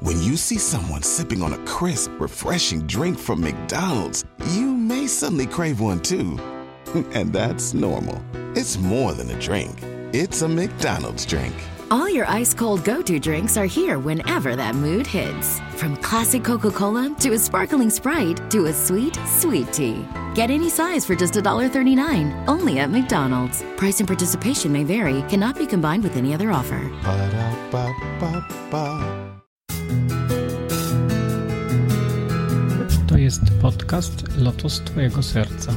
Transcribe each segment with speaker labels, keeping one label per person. Speaker 1: When you see someone sipping on a crisp, refreshing drink from McDonald's, you may suddenly crave one too. and that's normal. It's more than a drink, it's a McDonald's drink.
Speaker 2: All your ice cold go to drinks are here whenever that mood hits. From classic Coca Cola to a sparkling Sprite to a sweet, sweet tea. Get any size for just $1.39 only at McDonald's. Price and participation may vary, cannot be combined with any other offer.
Speaker 1: Ba-da-ba-ba-ba.
Speaker 3: To jest podcast Lotos Twojego Serca.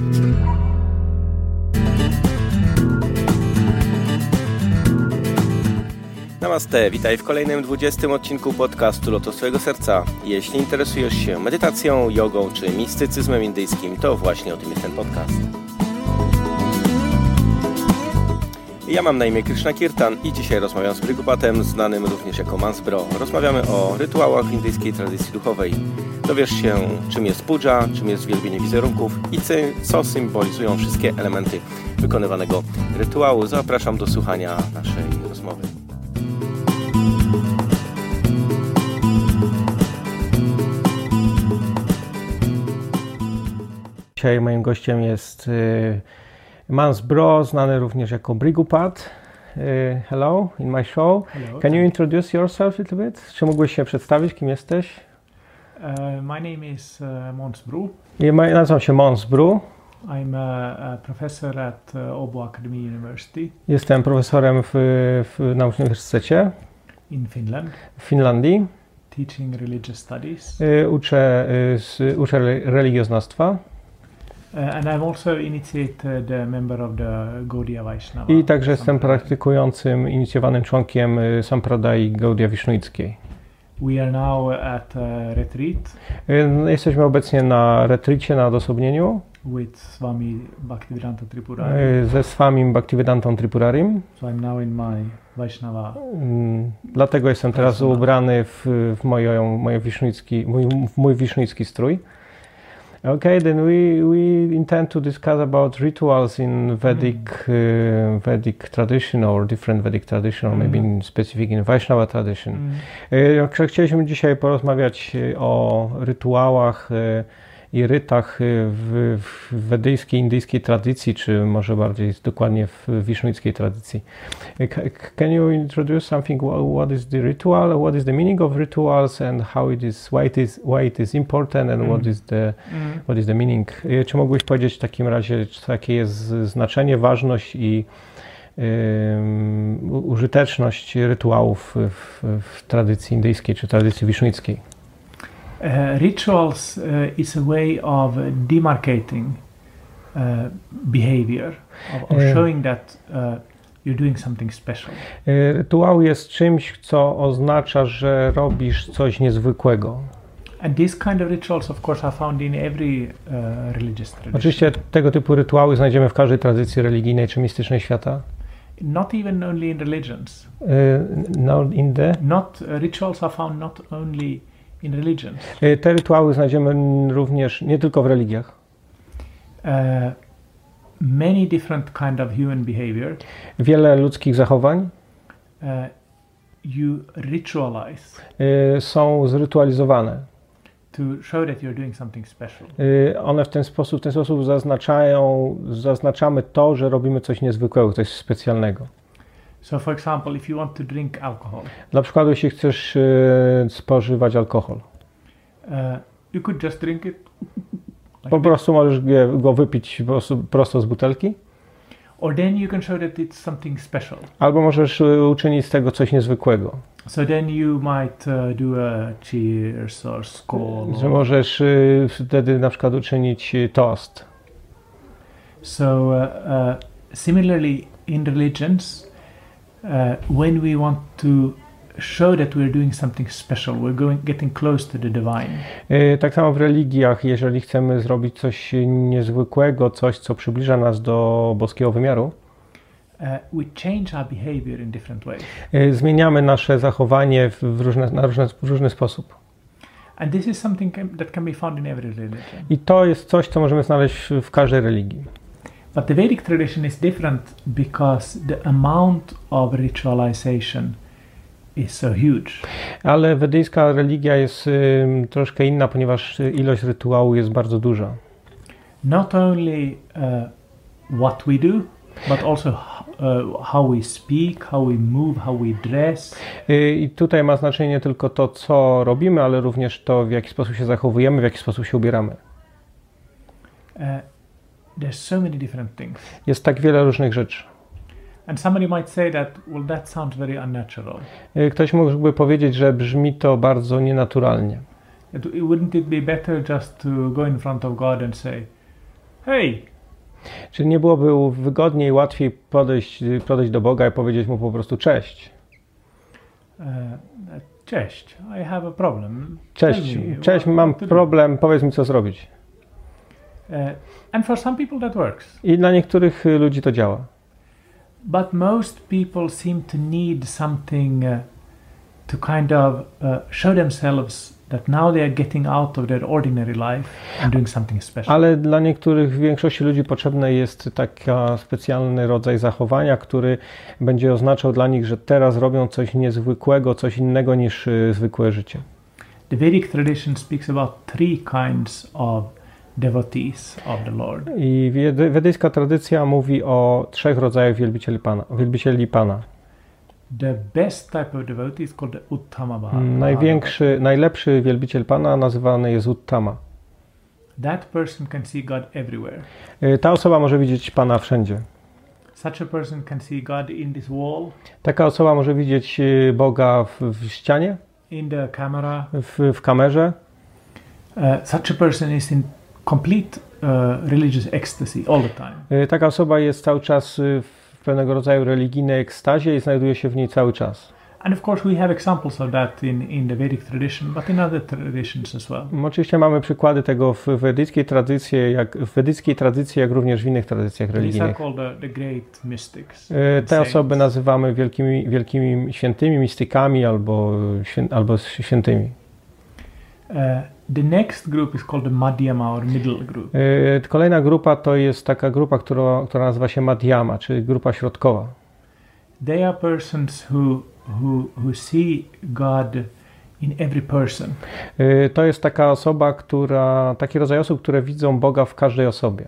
Speaker 4: Namaste, witaj w kolejnym 20 odcinku podcastu Lotos Twojego Serca. Jeśli interesujesz się medytacją, jogą czy mistycyzmem indyjskim, to właśnie o tym jest ten podcast. Ja mam na imię Krishna Kirtan i dzisiaj rozmawiam z Brygupatem, znanym również jako Mansbro. Rozmawiamy o rytuałach indyjskiej tradycji duchowej. Dowiesz się, czym jest puja, czym jest wielbienie wizerunków i cy- co symbolizują wszystkie elementy wykonywanego rytuału. Zapraszam do słuchania naszej rozmowy. Dzisiaj moim gościem jest y, Mans Bro, znany również jako Brigupat. Y, Hello, in my show.
Speaker 5: Hello.
Speaker 4: Can you introduce yourself a little bit? Czy mógłbyś się przedstawić, kim jesteś?
Speaker 5: Uh, my name is uh, Måns Bro.
Speaker 4: Ja ma- Nazywam się Mans Bro.
Speaker 5: I'm a, a professor at uh, Åbo Akademi University
Speaker 4: Jestem profesorem w, w, na Uniwersytecie
Speaker 5: in Finland,
Speaker 4: w Finlandii.
Speaker 5: teaching religious studies.
Speaker 4: Y, Uczę, y, z, uczę re- religioznawstwa
Speaker 5: Uh, and I'm also initiated a member of the Gaudiya Vaishnava.
Speaker 4: i także jestem
Speaker 5: Sampradaya.
Speaker 4: praktykującym, inicjowanym członkiem y, Sampradai Gaudia Wisznuickiej.
Speaker 5: We are now at a retreat
Speaker 4: Y, Jesteśmy obecnie na retricie, na odosobnieniu
Speaker 5: with Swami Bhaktivedanta Tripurari.
Speaker 4: y, ze Swamim Bhaktivedantą Tripurarim.
Speaker 5: So I'm now in my Vaishnava.
Speaker 4: Mm, Dlatego jestem teraz
Speaker 5: Personal.
Speaker 4: ubrany w, w, moją, moje wisznicki, mój, w mój wisznicki strój. Okay, then we, we intend to discuss about rituals in Vedic, uh, Vedic tradition or different Vedic tradition, or maybe in specific in Vaishnava tradition.
Speaker 5: Mm.
Speaker 4: Y, Także chcieliśmy dzisiaj porozmawiać y, o rytuałach y, i rytach y, w, w wedyjskiej, indyjskiej tradycji, czy może bardziej dokładnie w wisznuickiej tradycji. Y, ca- Can you introduce something? Wha- What is the ritual? What is the meaning of rituals and how it is, why it is, why it is important and what is the,
Speaker 5: Mm.
Speaker 4: what is the meaning? Y, Czy mógłbyś powiedzieć w takim razie, czy jakie jest znaczenie, ważność i ym, u- użyteczność rytuałów w, w tradycji indyjskiej czy tradycji wisznickiej?
Speaker 5: Uh, rituals uh, is a way of uh, demarcating uh, behavior, of, of
Speaker 4: Yeah.
Speaker 5: showing that uh, you're doing something special.
Speaker 4: Y, Rytuał jest czymś, co oznacza, że robisz coś niezwykłego.
Speaker 5: And these kind of rituals, of course, are found in every uh, religious tradition.
Speaker 4: Oczywiście tego typu rytuały znajdziemy w każdej tradycji religijnej czy mistycznej świata.
Speaker 5: Not even only in religions.
Speaker 4: Y, No, in the,
Speaker 5: Not uh, rituals are found not only in religions.
Speaker 4: y, te rytuały znajdziemy również nie tylko w religiach.
Speaker 5: Uh, many different kind of human behavior
Speaker 4: Wiele ludzkich zachowań
Speaker 5: uh, you ritualize
Speaker 4: y, są zrytualizowane.
Speaker 5: to show that you're doing something special.
Speaker 4: Y, One w ten sposób, w ten sposób zaznaczają, zaznaczamy to, że robimy coś niezwykłego, coś specjalnego.
Speaker 5: So, for example, if you want to drink alcohol,
Speaker 4: Dla przykładu, jeśli chcesz y, spożywać alkohol,
Speaker 5: uh, you could just drink it,
Speaker 4: po prostu możesz je- go wypić po prostu prosto z butelki,
Speaker 5: or then you can show that it's something special.
Speaker 4: albo możesz y, uczynić z tego coś niezwykłego.
Speaker 5: So then you might uh, do a cheers or score.
Speaker 4: Że możesz y, wtedy na przykład uczynić y, toast.
Speaker 5: So, uh, uh, similarly, in religions, uh, when we want to show that we're doing something special, we're going getting close to the divine.
Speaker 4: Y, Tak samo w religiach, jeżeli chcemy zrobić coś niezwykłego, coś, co przybliża nas do boskiego wymiaru,
Speaker 5: Uh, we change our behavior in different ways,
Speaker 4: y, zmieniamy nasze zachowanie w w różne, na różne, w różny sposób.
Speaker 5: and this is something can, that can be found in every religion.
Speaker 4: I to jest coś, co możemy znaleźć w każdej religii.
Speaker 5: But the Vedic tradition is different because the amount of ritualization is so huge.
Speaker 4: Ale wedyjska religia jest ym, troszkę inna, ponieważ y, ilość rytuału jest bardzo duża.
Speaker 5: Not only uh, what we do, but also h- uh, how we speak, how we move, how we dress.
Speaker 4: Y, I tutaj ma znaczenie nie tylko to, co robimy, ale również to, w jaki sposób się zachowujemy, w jaki sposób się ubieramy.
Speaker 5: Uh, there's so many different things.
Speaker 4: Jest tak wiele różnych rzeczy.
Speaker 5: And somebody might say that, well, that sounds very unnatural.
Speaker 4: Y, Ktoś mógłby powiedzieć, że brzmi to bardzo nienaturalnie.
Speaker 5: It, it- wouldn't it be better just to go in front of God and say, hey,
Speaker 4: Czy nie byłoby wygodniej, łatwiej podejść, y, podejść do Boga i powiedzieć mu po prostu cześć?
Speaker 5: uh, cześć, I have a problem.
Speaker 4: Cześć,
Speaker 5: Tell me
Speaker 4: cześć,
Speaker 5: what
Speaker 4: mam
Speaker 5: to do."
Speaker 4: problem, powiedz mi co zrobić.
Speaker 5: Uh, and for some people that works.
Speaker 4: I dla niektórych y, ludzi to działa.
Speaker 5: But most people seem to need something uh, to kind of uh, show themselves that now they are getting out of their ordinary life and doing something special.
Speaker 4: Ale dla niektórych, w większości ludzi potrzebny jest taki specjalny rodzaj zachowania, który będzie oznaczał dla nich, że teraz robią coś niezwykłego, coś innego niż y, zwykłe życie.
Speaker 5: the Vedic tradition speaks about three kinds of devotees of the Lord.
Speaker 4: I wiedy- wedyjska tradycja mówi o trzech rodzajach wielbicieli Pana. Wielbicieli Pana.
Speaker 5: The best type of devotee is called the Uttama Bhava-
Speaker 4: Mm, Największy, najlepszy wielbiciel Pana nazywany jest Uttama.
Speaker 5: That person can see God everywhere.
Speaker 4: Y, Ta osoba może widzieć Pana wszędzie.
Speaker 5: Such a person can see God in this wall,
Speaker 4: Taka osoba może widzieć y, Boga w, w ścianie,
Speaker 5: in the camera.
Speaker 4: w, w kamerze.
Speaker 5: Uh, such a person is in complete uh, religious ecstasy all the time.
Speaker 4: Y, Taka osoba jest cały czas y, w pewnego rodzaju religijnej ekstazie i znajduje się w niej cały czas.
Speaker 5: And of course, we have examples of that in, in the Vedic tradition, but in other traditions as well.
Speaker 4: M, Oczywiście mamy przykłady tego w wedyckiej tradycji, jak, w wedyckiej tradycji, jak również w innych tradycjach
Speaker 5: These are
Speaker 4: religijnych.
Speaker 5: called the, the great mystics. Uh,
Speaker 4: Y,
Speaker 5: and
Speaker 4: Te
Speaker 5: saints.
Speaker 4: osoby nazywamy wielkimi, wielkimi świętymi, mistykami albo, y, świę, albo świętymi.
Speaker 5: Uh, the next group is called the Madhyama or middle group.
Speaker 4: Yy, Kolejna grupa to jest taka grupa, która, która nazywa się Madhyama, czyli grupa środkowa.
Speaker 5: They are persons who, who, who see God in every person.
Speaker 4: Yy, To jest taka osoba, która, taki rodzaj osób, które widzą Boga w każdej osobie.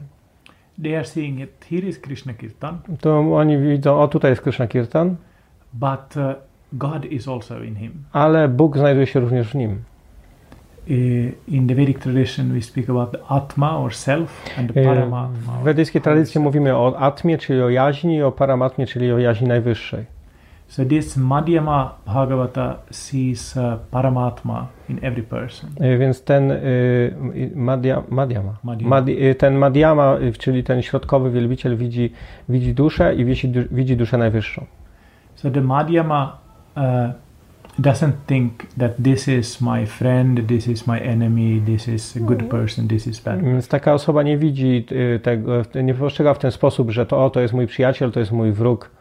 Speaker 5: They are seeing it. Here is Krishna Kirtan,
Speaker 4: To oni widzą, o tutaj jest Krishna Kirtan,
Speaker 5: but uh, God is also in him.
Speaker 4: ale Bóg znajduje się również w nim.
Speaker 5: Uh, in the Vedic tradition, we speak about the Atma or self and the
Speaker 4: Yy,
Speaker 5: Paramatma.
Speaker 4: W
Speaker 5: or
Speaker 4: wedyjskiej
Speaker 5: higher
Speaker 4: tradycji
Speaker 5: self.
Speaker 4: mówimy o atmie, czyli o jaźni, i o paramatmie, czyli o jaźni najwyższej.
Speaker 5: So this Madhyama Bhagavata sees uh, Paramatma in every person.
Speaker 4: Yy, Więc ten yy, Madhya- Madhyama,
Speaker 5: Madhyama.
Speaker 4: Madhi- yy, ten Madhyama, yy, czyli ten środkowy wielbiciel widzi, widzi duszę i widzi, du- widzi duszę najwyższą.
Speaker 5: So the Madhyama uh, doesn't think that this is my friend, this is my enemy, this is a good person, this is bad.
Speaker 4: Więc taka osoba nie widzi y, tego, nie postrzega w ten sposób, że to o, to jest mój przyjaciel, to jest mój wróg.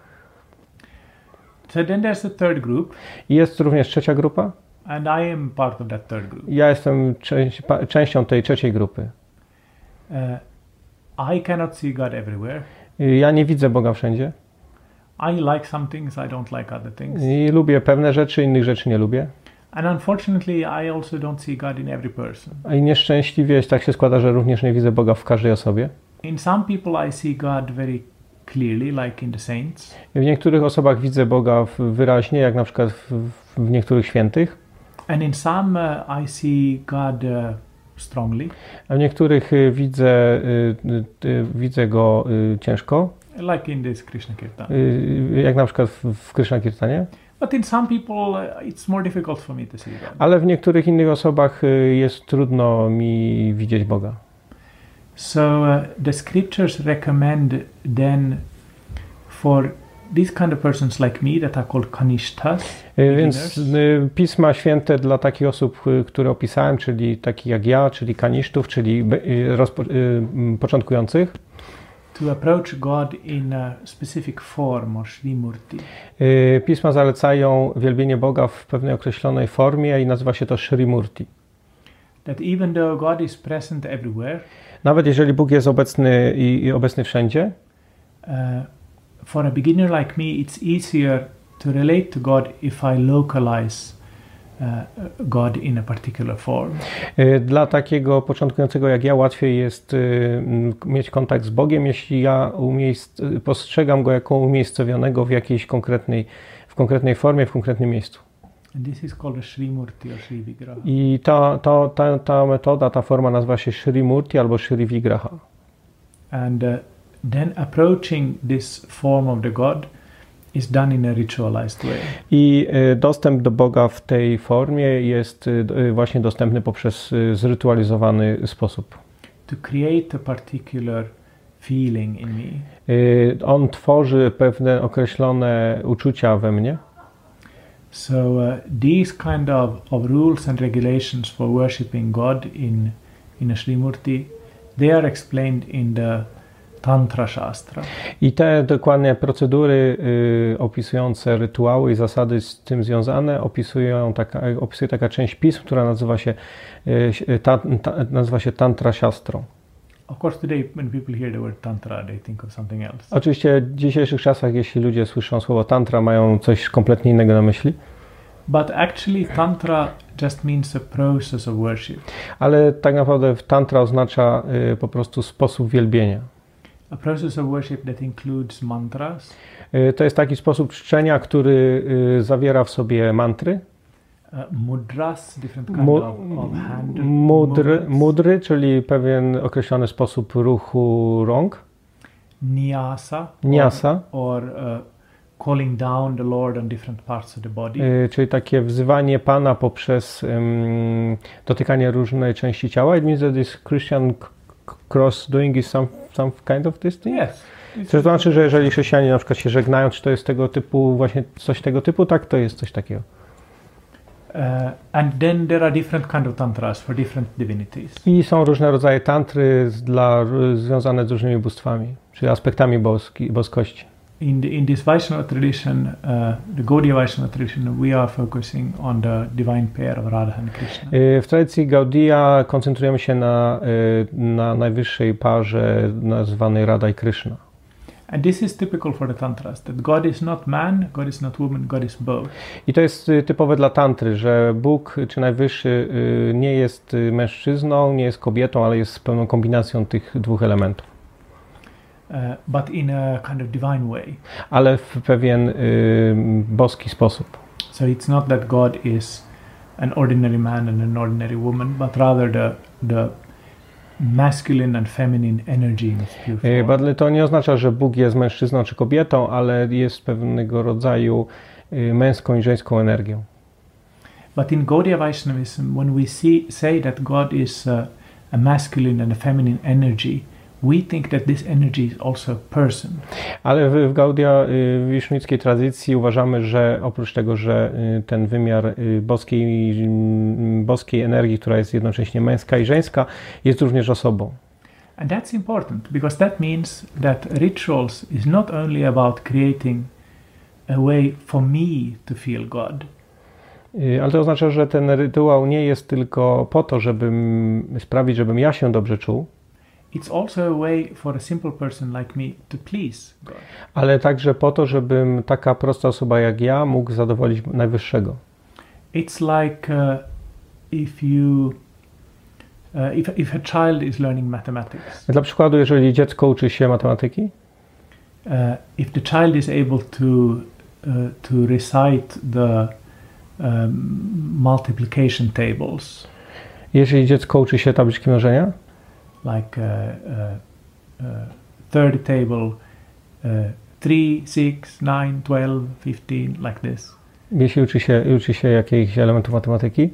Speaker 5: So then there's the third group,
Speaker 4: I Jest również trzecia grupa.
Speaker 5: and I am part of that third group.
Speaker 4: Ja jestem część, pa, częścią tej trzeciej grupy.
Speaker 5: Uh, I cannot see God everywhere.
Speaker 4: Y, Ja nie widzę Boga wszędzie.
Speaker 5: I like some things, I don't like other things.
Speaker 4: I lubię pewne rzeczy, innych rzeczy nie lubię.
Speaker 5: And unfortunately, I also don't see God in every person.
Speaker 4: I nieszczęśliwie tak się składa, że również nie widzę Boga w każdej osobie.
Speaker 5: In some people, I see God very clearly, like in the saints.
Speaker 4: W niektórych osobach widzę Boga w- wyraźnie, jak na przykład w, w- w niektórych świętych,
Speaker 5: And in some, uh, I see God uh, strongly,
Speaker 4: a w niektórych y, widzę, y, y, y, widzę Go y, ciężko,
Speaker 5: like in this Krishna Kirtan.
Speaker 4: y, jak na przykład w, w Krishna Kirtanie.
Speaker 5: But in some people, uh, it's more difficult for me to see God.
Speaker 4: Ale w niektórych innych osobach y, jest trudno mi widzieć Boga.
Speaker 5: So uh, the scriptures recommend then for these kind of persons like me that are called kanishtas.
Speaker 4: Y, Więc
Speaker 5: beginners,
Speaker 4: y, pisma święte dla takich osób, y, które opisałem, czyli takich jak ja, czyli kanisztów, czyli be- y, rozpo- y, m, początkujących,
Speaker 5: to approach God in a specific form or Srimurti.
Speaker 4: y, pisma zalecają wielbienie Boga w pewnej określonej formie i nazywa się to Shri Murti.
Speaker 5: That even though God is present everywhere,
Speaker 4: Nawet jeżeli Bóg jest obecny i, i obecny wszędzie,
Speaker 5: uh, for a beginner like me, it's easier to relate to God if I localize uh, God in a particular form.
Speaker 4: Y, Dla takiego początkującego jak ja łatwiej jest y, m, mieć kontakt z Bogiem, jeśli ja umiejsc- y, postrzegam go jako umiejscowionego w jakiejś konkretnej, w konkretnej formie, w konkretnym miejscu.
Speaker 5: And this is called a Sri Murti or Sri Vigraha.
Speaker 4: I ta, ta, ta, ta metoda, ta forma nazywa się Shri Murti albo Shri Vigraha.
Speaker 5: And uh, then approaching this form of the God is done in a ritualized way.
Speaker 4: I y, dostęp do Boga w tej formie jest y, d- y, właśnie dostępny poprzez y, zrytualizowany sposób.
Speaker 5: to create a particular feeling in me.
Speaker 4: Y, On tworzy pewne określone uczucia we mnie.
Speaker 5: So uh, these kind of, of rules and regulations for worshipping God in in a Srimurti, they are explained in the Tantra Shastra.
Speaker 4: I te dokładnie procedury y, opisujące rytuały i zasady z tym związane opisują taka, opisuje taka część pism, która nazywa się, y, ta, ta, nazywa się Tantra Siastrą.
Speaker 5: Of course, today when people hear the word Tantra, they think of something else.
Speaker 4: Oczywiście w dzisiejszych czasach, jeśli ludzie słyszą słowo Tantra, mają coś kompletnie innego na myśli,
Speaker 5: But actually, Tantra just means a process of worship,
Speaker 4: ale tak naprawdę w Tantra oznacza y, po prostu sposób wielbienia.
Speaker 5: a process of worship that includes mantras,
Speaker 4: Y, To jest taki sposób czczenia, który y, zawiera w sobie mantry,
Speaker 5: uh, mudras, different kind
Speaker 4: Mu-
Speaker 5: of, of hand
Speaker 4: mudry,
Speaker 5: movements,
Speaker 4: mudry, czyli pewien określony sposób ruchu rąk,
Speaker 5: Nyasa. or-
Speaker 4: niasa,
Speaker 5: or uh, calling down the Lord on different parts of the body.
Speaker 4: y, czyli takie wzywanie Pana poprzez ym, dotykanie różnej części ciała. It means that this Christian c- c- cross doing is some, some kind of this thing?
Speaker 5: yes.
Speaker 4: Czy to znaczy, że jeżeli chrześcijanie na przykład się żegnają, czy to jest tego typu, właśnie coś tego typu? Tak, to jest coś takiego.
Speaker 5: Uh, and then there are different kind of tantras for different divinities.
Speaker 4: I są różne rodzaje tantry z- dla, związane z różnymi bóstwami, czyli aspektami boski, boskości.
Speaker 5: In the, in this Vaishnava tradition, uh, the Gaudiya Vaishnava tradition, we are focusing on the divine pair of Radha and Krishna.
Speaker 4: Y, W tradycji Gaudiya koncentrujemy się na, y, na najwyższej parze nazwanej Radha i Krishna.
Speaker 5: And this is typical for the tantras that God is not man, God is not woman, God is both.
Speaker 4: I to jest y, typowe dla tantry, że Bóg czy Najwyższy y, nie jest y, mężczyzną, nie jest kobietą, ale jest pełną kombinacją tych dwóch elementów.
Speaker 5: Uh, but in a kind of divine way.
Speaker 4: Ale w pewien y, boski sposób.
Speaker 5: So it's not that God is an ordinary man and an ordinary woman, but rather the the masculine and feminine energy in its pure
Speaker 4: Y,
Speaker 5: form.
Speaker 4: Badle to nie oznacza, że Bóg jest mężczyzną czy kobietą, ale jest pewnego rodzaju y, męską i żeńską energią.
Speaker 5: But in Gaudiya Vaishnavism, when we see, say that God is uh, a masculine and a feminine energy, we think that this energy is also a person.
Speaker 4: Ale w, w Gaudia y, wisznickiej tradycji uważamy, że oprócz tego, że y, ten wymiar y, boskiej, y, boskiej energii, która jest jednocześnie męska i żeńska, jest również osobą.
Speaker 5: And that's important because that means that rituals is not only about creating a way for me to feel God,
Speaker 4: Y, Ale to oznacza, że ten rytuał nie jest tylko po to, żebym sprawić, żebym ja się dobrze czuł,
Speaker 5: it's also a way for a simple person like me to please God.
Speaker 4: ale także po to, żebym taka prosta osoba jak ja mógł zadowolić najwyższego.
Speaker 5: It's like uh, if you, uh, if, if a child is learning mathematics,
Speaker 4: Dla przykładu, jeżeli dziecko uczy się matematyki,
Speaker 5: uh, if the child is able to uh, to recite the um, multiplication tables,
Speaker 4: jeżeli dziecko uczy się tabliczki mnożenia,
Speaker 5: like uh, uh, uh, third table, uh, 3, 6, 9, 12, 15, like this,
Speaker 4: jeśli uczy się, uczy się jakichś elementów matematyki,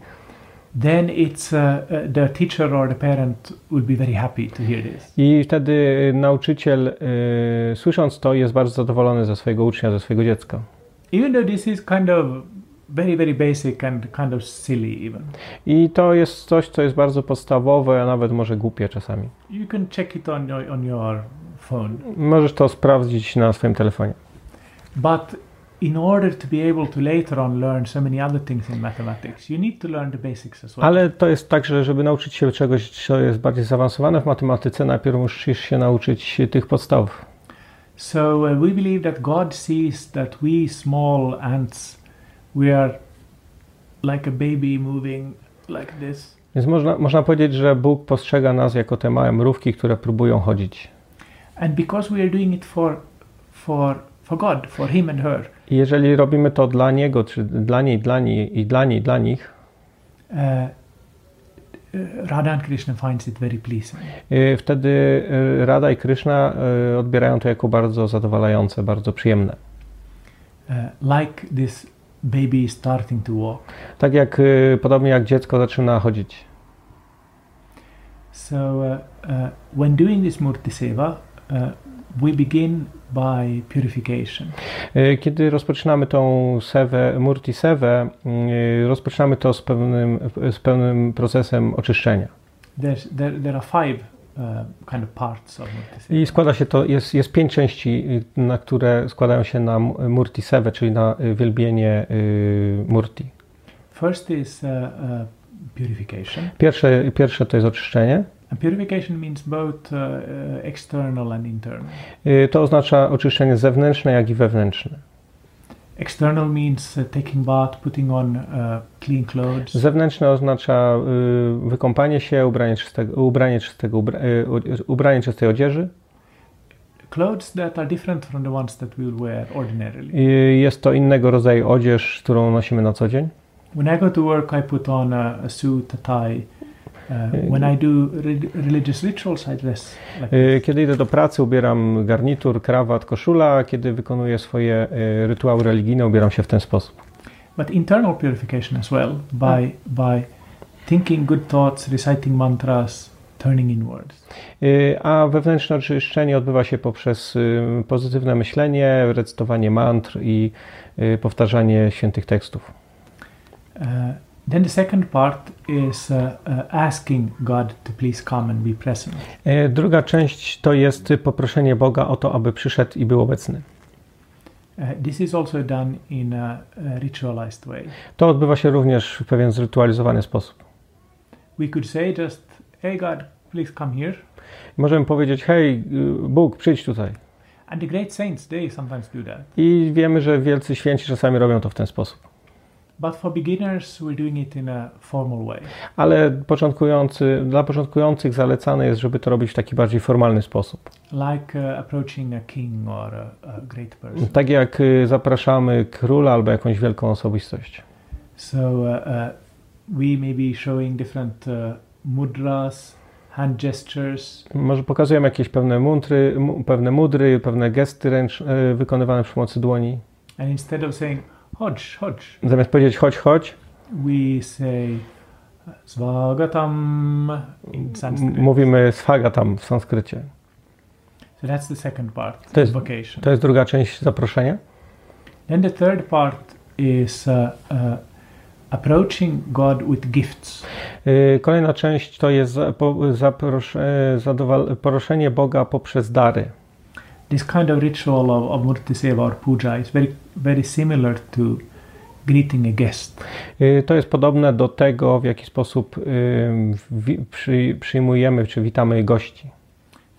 Speaker 5: then it's uh, uh, the teacher or the parent would be very happy to hear this.
Speaker 4: I wtedy y, nauczyciel, y, słysząc to, jest bardzo zadowolony ze swojego ucznia, ze swojego dziecka.
Speaker 5: Even though this is kind of very, very basic and kind of silly, even.
Speaker 4: I to jest coś, co jest bardzo podstawowe, a nawet może głupie czasami.
Speaker 5: You can check it on your, on your phone.
Speaker 4: Możesz to sprawdzić na swoim telefonie.
Speaker 5: But in order to be able to later on learn so many other things in mathematics, you need to learn the basics as well.
Speaker 4: Ale to jest tak, że żeby nauczyć się czegoś, co jest bardziej zaawansowane w matematyce, najpierw musisz się nauczyć tych podstaw.
Speaker 5: So uh, we believe that God sees that we small ants, we are like a baby moving like this.
Speaker 4: Więc można, można powiedzieć, że Bóg postrzega nas jako te małe mrówki, które próbują chodzić.
Speaker 5: And because we are doing it for, for, for God, for him and her,
Speaker 4: I jeżeli robimy to dla Niego, czy dla niej, dla niej i dla niej, dla nich,
Speaker 5: uh, uh, Radha and Krishna finds it very pleasing.
Speaker 4: y, wtedy y, Radha i Kryszna y, odbierają to jako bardzo zadowalające, bardzo przyjemne.
Speaker 5: Uh, like this baby is starting to walk.
Speaker 4: Tak jak, y, podobnie jak dziecko zaczyna chodzić.
Speaker 5: So uh, uh, when doing this Murti Seva, uh, we begin by purification.
Speaker 4: Y, Kiedy rozpoczynamy tą sewę, murti sewę, y, rozpoczynamy to z pewnym, z pewnym procesem oczyszczenia.
Speaker 5: There's, there, there are five uh, kind of parts of Murti Seva.
Speaker 4: I składa się to, jest, jest pięć części, y, na które składają się na m- murti sewę, czyli na y, wielbienie y, murti.
Speaker 5: First is uh, uh, purification.
Speaker 4: Pierwsze, pierwsze to jest oczyszczenie.
Speaker 5: And purification means both uh, uh, external and internal.
Speaker 4: Y, To oznacza oczyszczenie zewnętrzne, jak i wewnętrzne.
Speaker 5: External means uh, taking bath, putting on uh, clean clothes,
Speaker 4: Zewnętrzne oznacza y, wykąpanie się, ubranie czystego, ubranie, czystego, ubra- y, u- ubranie czystej odzieży.
Speaker 5: clothes that are different from the ones that we would wear ordinarily.
Speaker 4: Y, Jest to innego rodzaju odzież, którą nosimy na co dzień.
Speaker 5: When I go to work, I put on a, a suit, a tie. Uh, when I do re- religious rituals, I dress like
Speaker 4: Y,
Speaker 5: this.
Speaker 4: Kiedy idę do pracy, ubieram garnitur, krawat, koszula, a kiedy wykonuję swoje y, rytuały religijne, ubieram się w ten sposób.
Speaker 5: But internal purification as well by by thinking good thoughts, reciting mantras, turning inwards.
Speaker 4: Y, A wewnętrzne oczyszczenie odbywa się poprzez y, pozytywne myślenie, recytowanie mantr i y, powtarzanie świętych tekstów.
Speaker 5: Uh, then the second part is uh, uh, asking God to please come and be present.
Speaker 4: Y, Druga część to jest y, poproszenie Boga o to, aby przyszedł i był obecny.
Speaker 5: Uh, this is also done in a, a ritualized way.
Speaker 4: To odbywa się również w pewien zrytualizowany sposób.
Speaker 5: We could say just, "Hey God, please come here."
Speaker 4: Możemy powiedzieć: Hej, y, Bóg, przyjdź tutaj.
Speaker 5: And the great saints they sometimes do that.
Speaker 4: I wiemy, że wielcy święci czasami robią to w ten sposób.
Speaker 5: But for beginners, we're doing it in a formal way.
Speaker 4: Ale początkujący, dla początkujących zalecane jest, żeby to robić w taki bardziej formalny sposób.
Speaker 5: like uh, approaching a king or a, a great person.
Speaker 4: Tak jak y, zapraszamy króla albo jakąś wielką osobistość.
Speaker 5: So uh, uh, we may be showing different uh, mudras, hand gestures,
Speaker 4: Może pokazujemy jakieś pewne mundry, mu- pewne mudry, pewne gesty ręcz, y, wykonywane przy pomocy dłoni.
Speaker 5: and instead of saying "hodge, hodge,"
Speaker 4: Zamiast powiedzieć chodź, chodź,
Speaker 5: we say uh, "svagatam" in
Speaker 4: m-
Speaker 5: Sanskrit.
Speaker 4: mówimy swaga tam w sanskrycie.
Speaker 5: so that's the second part,
Speaker 4: To jest-
Speaker 5: vocation.
Speaker 4: To jest druga część zaproszenia.
Speaker 5: Then the third part is uh, uh, approaching God with gifts.
Speaker 4: Y, Kolejna część to jest za- po- zapros- y, zadowal- poroszenie Boga poprzez dary.
Speaker 5: This kind of ritual of, of Murti Seva or puja is very very similar to greeting a guest.
Speaker 4: Y, To jest podobne do tego, w jaki sposób y, wi- przy, przyjmujemy czy witamy gości.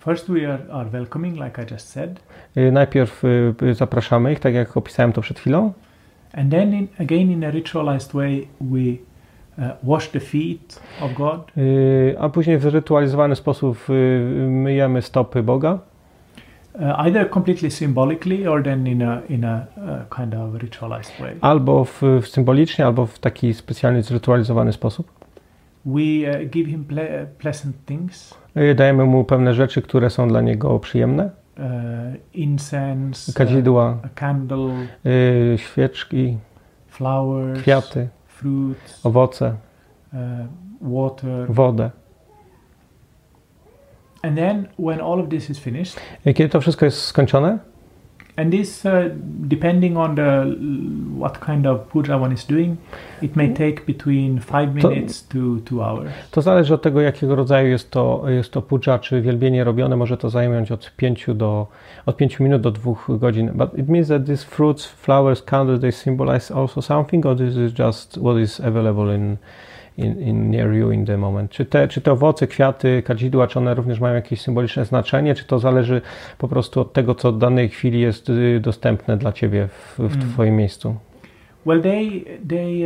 Speaker 5: First, we are, are welcoming, like I just said,
Speaker 4: Y, Najpierw y, y, zapraszamy ich, tak jak opisałem to przed chwilą,
Speaker 5: and then in, again in a ritualized way, we uh, wash the feet of God,
Speaker 4: y, a później w zrytualizowany sposób y, myjemy stopy Boga,
Speaker 5: uh, either completely symbolically or then in a in a uh, kind of ritualized way.
Speaker 4: albo w, w symbolicznie, albo w taki specjalny zrytualizowany sposób.
Speaker 5: We uh, give him ple- pleasant things,
Speaker 4: Y, Dajemy mu pewne rzeczy, które są dla niego przyjemne,
Speaker 5: uh, incense, uh,
Speaker 4: kadzidła,
Speaker 5: a candle,
Speaker 4: y, świeczki,
Speaker 5: flowers,
Speaker 4: kwiaty,
Speaker 5: fruits,
Speaker 4: owoce,
Speaker 5: uh, water,
Speaker 4: wodę.
Speaker 5: and then when all of this is finished,
Speaker 4: Y, Kiedy to wszystko jest skończone,
Speaker 5: And this, uh, depending on the what kind of puja one is doing, it may take between five
Speaker 4: To-
Speaker 5: minutes to two hours.
Speaker 4: To zależy od tego, jakiego rodzaju jest to, jest to puja, czy wielbienie robione. Może to zająć od 5, do, od 5 minut do 2 godzin. But it means that these fruits, flowers, candles, they symbolize also something, or this is just what is available in, in, in near you in the moment. Czy te, czy te owoce, kwiaty, kadzidła, czy one również mają jakieś symboliczne znaczenie, czy to zależy po prostu od tego, co w danej chwili jest y, dostępne dla ciebie w, w twoim miejscu?
Speaker 5: Well, they they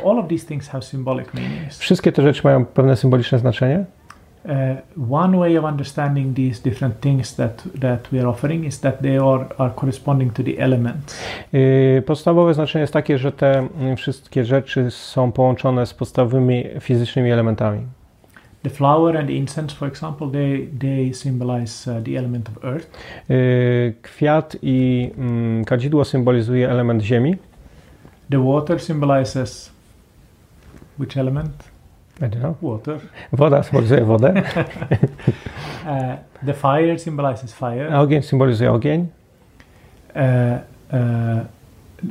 Speaker 5: uh, all of these things have symbolic meanings.
Speaker 4: Wszystkie te rzeczy mają pewne symboliczne znaczenie?
Speaker 5: Uh, one way of understanding these different things that that we are offering is that they are are corresponding to the elements.
Speaker 4: Yy, Podstawowe znaczenie jest takie, że te yy, wszystkie rzeczy są połączone z podstawowymi fizycznymi elementami.
Speaker 5: The flower and the incense, for example, they they symbolize uh, the element of earth.
Speaker 4: Yy, Kwiat i mm, kadzidło symbolizuje element ziemi.
Speaker 5: The water symbolizes which element? Water.
Speaker 4: Woda symbolizuje wodę,
Speaker 5: Uh, the fire symbolizes fire.
Speaker 4: a ogień symbolizuje ogień,
Speaker 5: uh,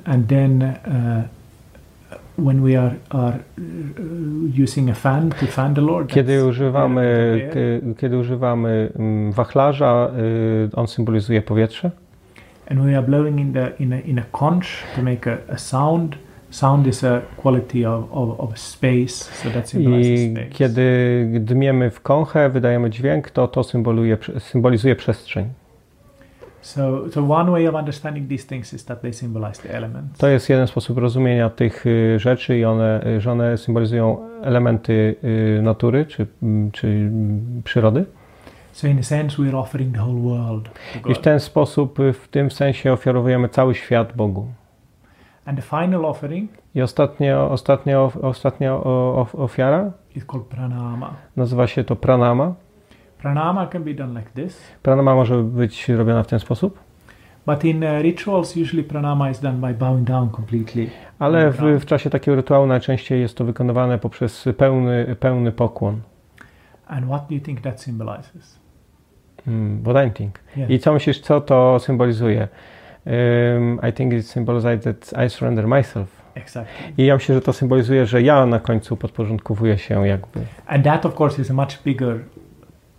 Speaker 5: and then uh, when we are are uh, using a fan to fan the Lord,
Speaker 4: Kiedy
Speaker 5: that's-
Speaker 4: używamy,
Speaker 5: yeah.
Speaker 4: kie- kiedy używamy mm, wachlarza, y, on symbolizuje powietrze.
Speaker 5: and we are blowing in the in a in a conch to make a, a sound. Sound is a quality of, of, of space, so that symbolizes
Speaker 4: I
Speaker 5: space.
Speaker 4: kiedy dmiemy w kąchę, wydajemy dźwięk, to to symboluje, symbolizuje przestrzeń.
Speaker 5: So, so one way of understanding these things is that they symbolize the elements.
Speaker 4: To jest jeden sposób rozumienia tych y, rzeczy i one, y, że one symbolizują elementy y, natury czy, mm, czy mm, przyrody.
Speaker 5: So, in a sense, we are offering the whole world to
Speaker 4: I w
Speaker 5: God.
Speaker 4: ten sposób, y, w tym sensie ofiarowujemy cały świat Bogu.
Speaker 5: And the final offering
Speaker 4: I ostatnia, ostatnia, of- ostatnia o- of- ofiara
Speaker 5: is called pranama.
Speaker 4: nazywa się to pranama.
Speaker 5: Pranama can be done like this.
Speaker 4: Pranama może być robiona w ten sposób,
Speaker 5: But in uh, rituals, usually pranama is done by bowing down completely.
Speaker 4: ale w, w czasie takiego rytuału najczęściej jest to wykonywane poprzez pełny, pełny pokłon.
Speaker 5: And what do you think that symbolizes?
Speaker 4: Mm, what I think.
Speaker 5: Yeah.
Speaker 4: I co myślisz, co to symbolizuje? Ym, I think it symbolizes that I surrender myself.
Speaker 5: Exactly.
Speaker 4: I ja myślę, że to symbolizuje, że ja na końcu podporządkowuję się jakby.
Speaker 5: And that, of course, is a much bigger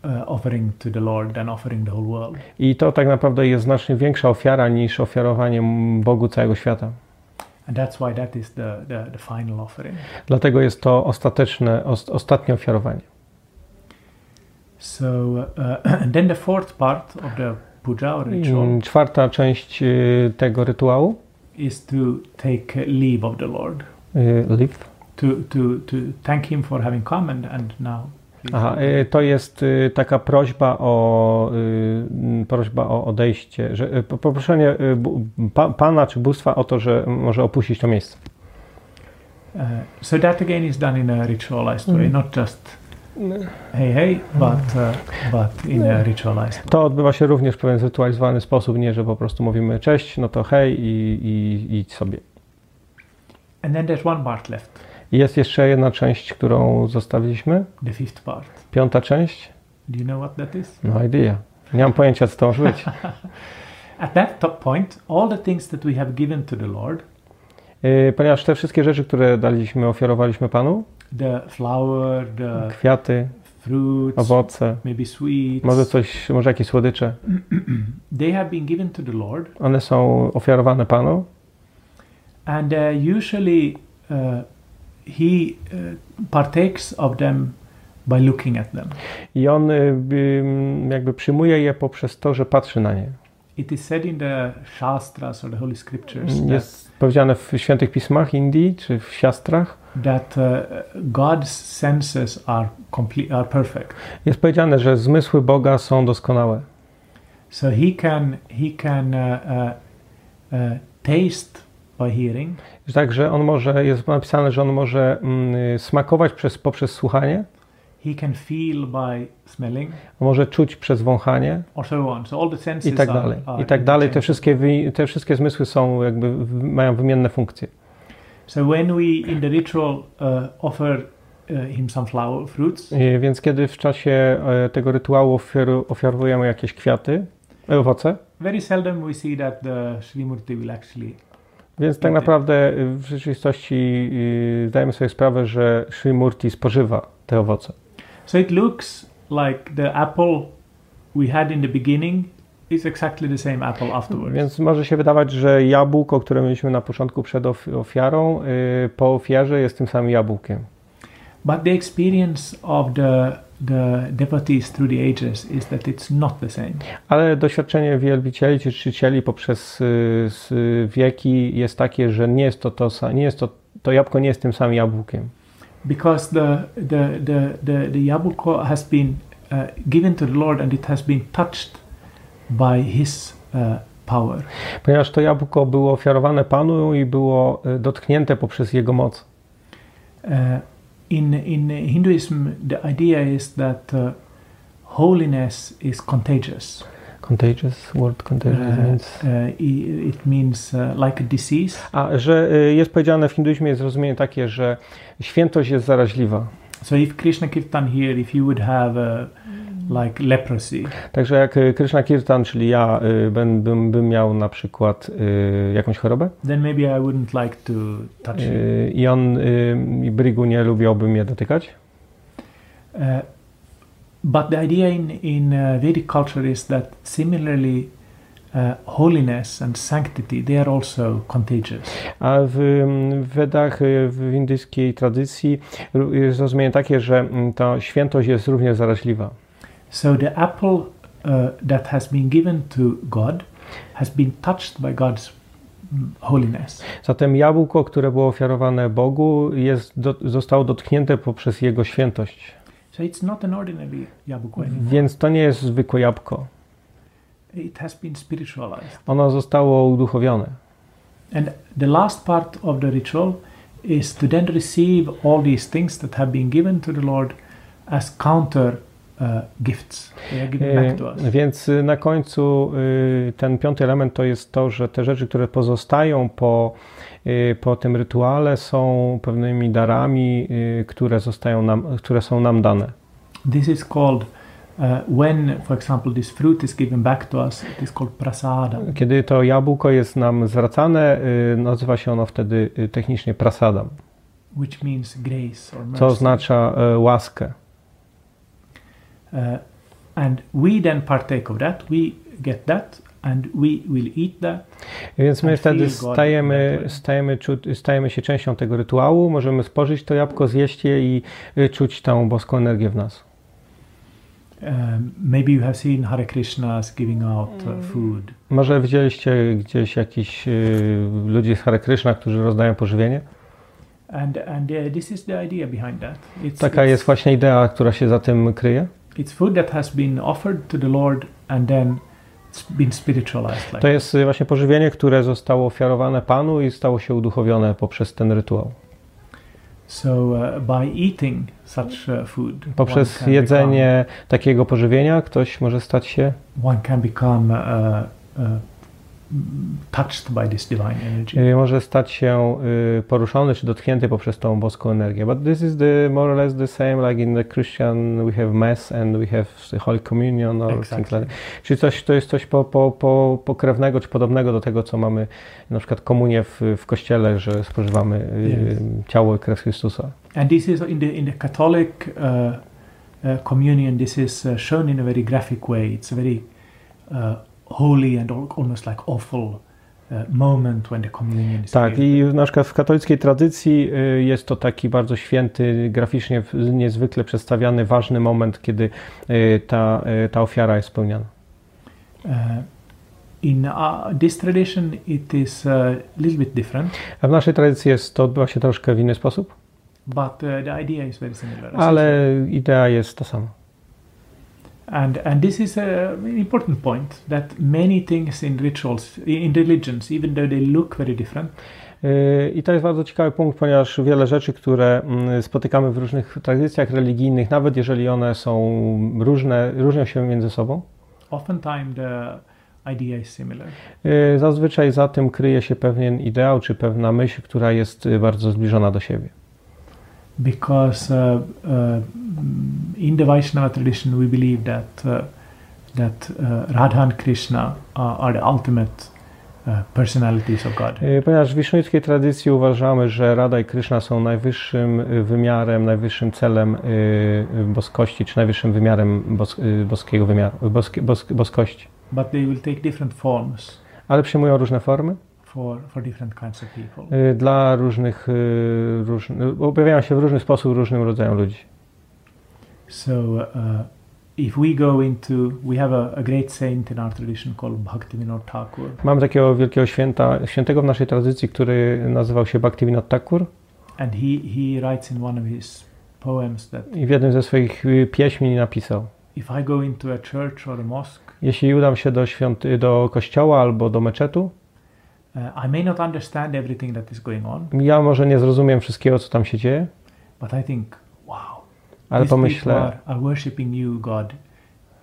Speaker 5: uh, offering to the Lord than offering the whole world.
Speaker 4: I to tak naprawdę jest znacznie większa ofiara niż ofiarowanie m, Bogu całego świata.
Speaker 5: And that's why that is the, the, the final offering.
Speaker 4: Dlatego jest to ostateczne, os- ostatnie ofiarowanie.
Speaker 5: So, uh, and then the fourth part of the puja or ritual
Speaker 4: Ym, Czwarta część y, tego rytuału,
Speaker 5: is to take uh, leave of the Lord,
Speaker 4: y, liv,
Speaker 5: to, to, to thank Him for having come and, and now. please
Speaker 4: Aha,
Speaker 5: go.
Speaker 4: y, to jest y, taka prośba o y, m, prośba o odejście, że y, po- poproszenie y, bu- pa, pana czy bóstwa o to, że może opuścić to miejsce.
Speaker 5: Uh, so that again is done in a ritualized way, not just hey hey, but uh, but in a ritualized.
Speaker 4: To odbywa się również w pewien zrytualizowany sposób, nie że po prostu mówimy cześć, no to hej i, i idź sobie.
Speaker 5: And then there's one part left,
Speaker 4: I Jest jeszcze jedna część, którą zostawiliśmy,
Speaker 5: the fifth part.
Speaker 4: piąta część.
Speaker 5: Do you know what that is?
Speaker 4: No idea. Nie mam pojęcia, co to może być.
Speaker 5: At that top point, all the things that we have given to the Lord,
Speaker 4: Y, Ponieważ te wszystkie rzeczy, które daliśmy, ofiarowaliśmy panu,
Speaker 5: the flower, the
Speaker 4: kwiaty,
Speaker 5: fruits,
Speaker 4: owoce,
Speaker 5: maybe sweets,
Speaker 4: może coś, może jakieś słodycze,
Speaker 5: they have been given to the Lord,
Speaker 4: one są ofiarowane panu.
Speaker 5: and uh, usually uh, He uh, partakes of them by looking at them.
Speaker 4: I on y, ym, jakby przyjmuje je poprzez to, że patrzy na nie.
Speaker 5: It is said in the Shastras or the Holy Scriptures that
Speaker 4: Jest powiedziane w świętych pismach Indii czy w siastrach.
Speaker 5: that uh, God's senses are complete, are perfect.
Speaker 4: Jest powiedziane, że zmysły Boga są doskonałe.
Speaker 5: So he can he can uh, uh, uh, taste by hearing,
Speaker 4: Że Także on może, jest napisane, że on może mm, smakować przez, poprzez słuchanie,
Speaker 5: he can feel by smelling,
Speaker 4: może czuć przez wąchanie
Speaker 5: or so on. So all the senses
Speaker 4: i tak
Speaker 5: are,
Speaker 4: dalej.
Speaker 5: are
Speaker 4: I tak dalej. Te
Speaker 5: interchanged.
Speaker 4: wszystkie, wy- te wszystkie zmysły są jakby, w- mają wymienne funkcje.
Speaker 5: So when we in the ritual uh, offer uh, him some flower fruits,
Speaker 4: Y, Więc kiedy w czasie e, tego rytuału ofiaru- ofiarowujemy jakieś kwiaty, e, owoce,
Speaker 5: very seldom we see that the Srimurti will actually.
Speaker 4: Więc tak
Speaker 5: Okej.
Speaker 4: naprawdę y, w rzeczywistości y, zdajemy sobie sprawę, że Sri Murti spożywa te owoce.
Speaker 5: So it looks like the apple we had in the beginning is exactly the same apple afterwards.
Speaker 4: Więc może się wydawać, że jabłko, które mieliśmy na początku przed of- ofiarą, y, po ofiarze jest tym samym jabłkiem.
Speaker 5: But the experience of the the devotees through the ages is that it's not the same.
Speaker 4: Ale doświadczenie wielbicieli czy czcicieli poprzez y, s- wieki jest takie, że nie jest to, to, sa- nie jest to, to jabłko nie jest tym samym jabłkiem.
Speaker 5: because the the the the, the yabuko has been uh, given to the Lord and it has been touched by His uh, power.
Speaker 4: Ponieważ to jabłko było ofiarowane Panu i było y, dotknięte poprzez Jego moc.
Speaker 5: Uh, in in Hinduism, the idea is that uh, holiness is contagious.
Speaker 4: Contagious, word contagious,
Speaker 5: Uh,
Speaker 4: więc...
Speaker 5: uh, i- it means uh, like a disease.
Speaker 4: A że y, jest powiedziane w hinduizmie, jest rozumienie takie, że świętość jest zaraźliwa.
Speaker 5: So if Krishna Kirtan here, if you would have uh, like leprosy,
Speaker 4: Także jak y, Krishna Kirtan, czyli ja, y, bym, bym, bym miał na przykład y, jakąś chorobę
Speaker 5: then maybe I wouldn't like to touch you.
Speaker 4: y, i on, y, i Brygu nie lubiłby mnie dotykać,
Speaker 5: Uh, but the idea in, in uh, Vedic culture is that similarly, uh, holiness and sanctity they are also contagious.
Speaker 4: a w y, w Wedach, y, w indyjskiej tradycji ró- jest rozumienie takie, że mm, ta świętość jest również zaraźliwa.
Speaker 5: So the apple uh, that has been given to God has been touched by God's mm, holiness.
Speaker 4: Zatem jabłko, które było ofiarowane Bogu, jest, do, zostało dotknięte poprzez jego świętość.
Speaker 5: So it's not an ordinary yabuko anymore.
Speaker 4: Więc to nie jest zwykłe jabłko.
Speaker 5: It has been spiritualized.
Speaker 4: Ono zostało uduchowione.
Speaker 5: And the last part of the ritual is to then receive all these things that have been given to the Lord as counter uh, gifts. They are given back to us.
Speaker 4: Y, Więc y, na końcu y, ten piąty element to jest to, że te rzeczy, które pozostają po, y, po tym rytuale, są pewnymi darami, y, które, zostają nam, które są nam dane.
Speaker 5: This is called uh, when, for example, this fruit is given back to us. It is called prasada.
Speaker 4: Kiedy to jabłko jest nam zwracane, y, nazywa się ono wtedy y, technicznie prasadam,
Speaker 5: which means grace or mercy.
Speaker 4: co oznacza y, łaskę.
Speaker 5: Uh, and we then partake of that. We get that, and we will eat that.
Speaker 4: Więc my
Speaker 5: And feel
Speaker 4: wtedy
Speaker 5: God in
Speaker 4: stajemy,
Speaker 5: that way.
Speaker 4: stajemy, czu- stajemy się częścią tego rytuału, możemy spożyć to jabłko, zjeść je i y, czuć tą boską energię w nas.
Speaker 5: Um, maybe you have seen Hare Krishnas giving out uh, food.
Speaker 4: Może widzieliście gdzieś jakiś y, ludzi z Hare Krishna, którzy rozdają pożywienie?
Speaker 5: And, and uh, this is the idea behind that. It's,
Speaker 4: Taka
Speaker 5: it's,
Speaker 4: jest właśnie idea, która się za tym kryje.
Speaker 5: it's food that has been offered to the Lord and then it's been spiritualized. Like
Speaker 4: To jest y, właśnie pożywienie, które zostało ofiarowane Panu i stało się uduchowione poprzez ten rytuał.
Speaker 5: So uh, by eating such uh, food, one
Speaker 4: Poprzez
Speaker 5: can
Speaker 4: jedzenie takiego pożywienia ktoś może stać się,
Speaker 5: become, one can become uh, uh, touched by this divine energy.
Speaker 4: y, może stać się y, poruszony czy dotknięty poprzez tą boską energię. But this is the more or less the same like in the Christian we have mass and we have the Holy Communion or things like
Speaker 5: Exactly.
Speaker 4: Czyli coś, to jest coś po, po, po, pokrewnego czy podobnego do tego, co mamy na przykład komunię w, w kościele, że spożywamy y,
Speaker 5: Yes.
Speaker 4: ciało i krew Chrystusa.
Speaker 5: And this is in the in the Catholic uh, uh, communion. This is uh, shown in a very graphic way. It's a very uh, holy and al- almost like awful uh, moment when the communion is
Speaker 4: Tak,
Speaker 5: given.
Speaker 4: i na przykład w katolickiej tradycji y, jest to taki bardzo święty, graficznie w- niezwykle przedstawiany, ważny moment, kiedy y, ta, y, ta ofiara jest spełniana.
Speaker 5: Uh, in uh, this tradition, it is a little bit different,
Speaker 4: A w naszej tradycji jest to odbywa się troszkę w inny sposób,
Speaker 5: but uh, the idea is very similar.
Speaker 4: ale idea jest ta sama.
Speaker 5: And and this is a, an important point that many things in rituals, in religions, even though they look very different,
Speaker 4: Yy, I to jest bardzo ciekawy punkt, ponieważ wiele rzeczy, które mm, spotykamy w różnych tradycjach religijnych, nawet jeżeli one są różne, różnią się między sobą,
Speaker 5: oftentimes the idea is similar.
Speaker 4: yy, zazwyczaj za tym kryje się pewien ideał czy pewna myśl, która jest yy, bardzo zbliżona do siebie.
Speaker 5: Because uh, uh, in the Vaishnava tradition, we believe that uh, that uh, Radha and Krishna are, are the ultimate uh, personalities of God.
Speaker 4: Yy, Ponieważ w wisznuickiej tradycji uważamy, że Rada i Kryszna są najwyższym yy, wymiarem, najwyższym celem yy, boskości, czy najwyższym wymiarem bos, yy, boskiego wymiaru, boski, bosk, boskości.
Speaker 5: But they will take different forms.
Speaker 4: Ale przyjmują różne formy.
Speaker 5: For- for, for different kinds of people.
Speaker 4: y, dla różnych, y, róż, y, objawiają się w różny sposób różnym rodzajom ludzi.
Speaker 5: So, uh, if we go into, we have a, a great saint in our tradition called Bhaktivinoda Thakur,
Speaker 4: Mamy takiego wielkiego święta, świętego w naszej tradycji, który nazywał się Bhaktivinoda Thakur
Speaker 5: and he, he writes in one of his poems that
Speaker 4: i w jednym ze swoich y, pieśni napisał
Speaker 5: if I go into a church or a mosque,
Speaker 4: Jeśli udam się do, świąt, do kościoła albo do meczetu,
Speaker 5: uh, I may not understand everything that is going on,
Speaker 4: ja może nie zrozumiem wszystkiego, co tam się dzieje,
Speaker 5: but I think, wow,
Speaker 4: ale
Speaker 5: these people
Speaker 4: pomyślę,
Speaker 5: are, are worshipping you, God,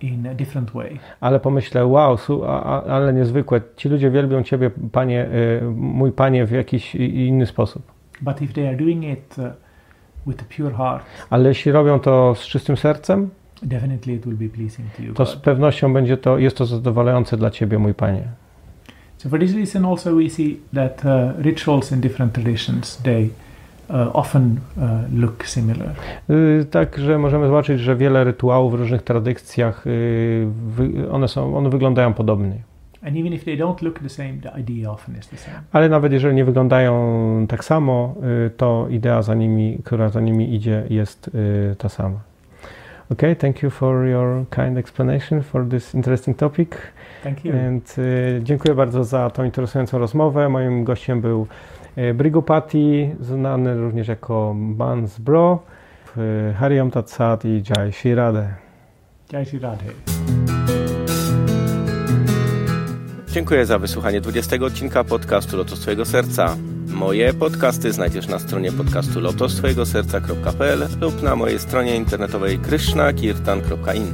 Speaker 5: in a different way.
Speaker 4: ale pomyślę, wow, su, a, a, ale niezwykłe, ci ludzie wielbią Ciebie, panie, y, mój panie, w jakiś i- inny sposób.
Speaker 5: But if they are doing it uh, with a pure heart,
Speaker 4: Ale jeśli robią to z czystym sercem,
Speaker 5: definitely it will be pleasing to you,
Speaker 4: to z
Speaker 5: God.
Speaker 4: pewnością będzie to, jest to zadowalające dla Ciebie, mój panie.
Speaker 5: So for this reason, also we see that uh, rituals in different traditions they uh, often uh, look similar.
Speaker 4: Y, Także możemy zobaczyć, że wiele rytuałów w różnych tradycjach, y, wy- one, są, one wyglądają podobnie.
Speaker 5: And even if they don't look the same, the idea often is the same.
Speaker 4: Ale nawet jeżeli nie wyglądają tak samo, y, to idea, za nimi, która za nimi idzie, jest y, ta sama. Okay, thank you for your kind explanation for this interesting topic.
Speaker 5: Thank you.
Speaker 4: And, y, dziękuję bardzo za tą interesującą rozmowę. Moim gościem był y, Brigopati, znany również jako Mans Bro. Y, Hariom Tatsat i Jai Shri Radhe.
Speaker 5: Jai Shri Radhe.
Speaker 6: Dziękuję za wysłuchanie 20 odcinka podcastu Lotos Twojego Serca. Moje podcasty znajdziesz na stronie podcastu lotostwojegoserca.pl lub na mojej stronie internetowej krishnakirtan.in.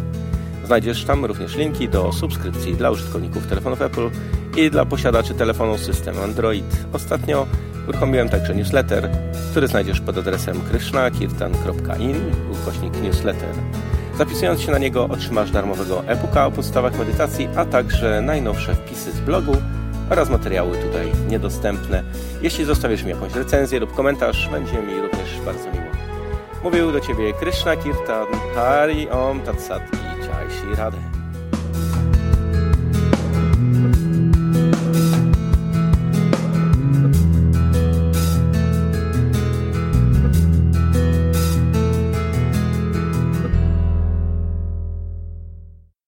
Speaker 6: Znajdziesz tam również linki do subskrypcji dla użytkowników telefonów Apple i dla posiadaczy telefonu z systemem Android. Ostatnio uruchomiłem także newsletter, który znajdziesz pod adresem krishnakirtan.in ukośnik newsletter. Zapisując się na niego otrzymasz darmowego e-booka o podstawach medytacji, a także najnowsze wpisy z blogu oraz materiały tutaj niedostępne. Jeśli zostawisz mi jakąś recenzję lub komentarz, będzie mi również bardzo miło. Mówił do Ciebie Krishna Kirtan, Hari Om Tat Sat i Jai Shri Radhe.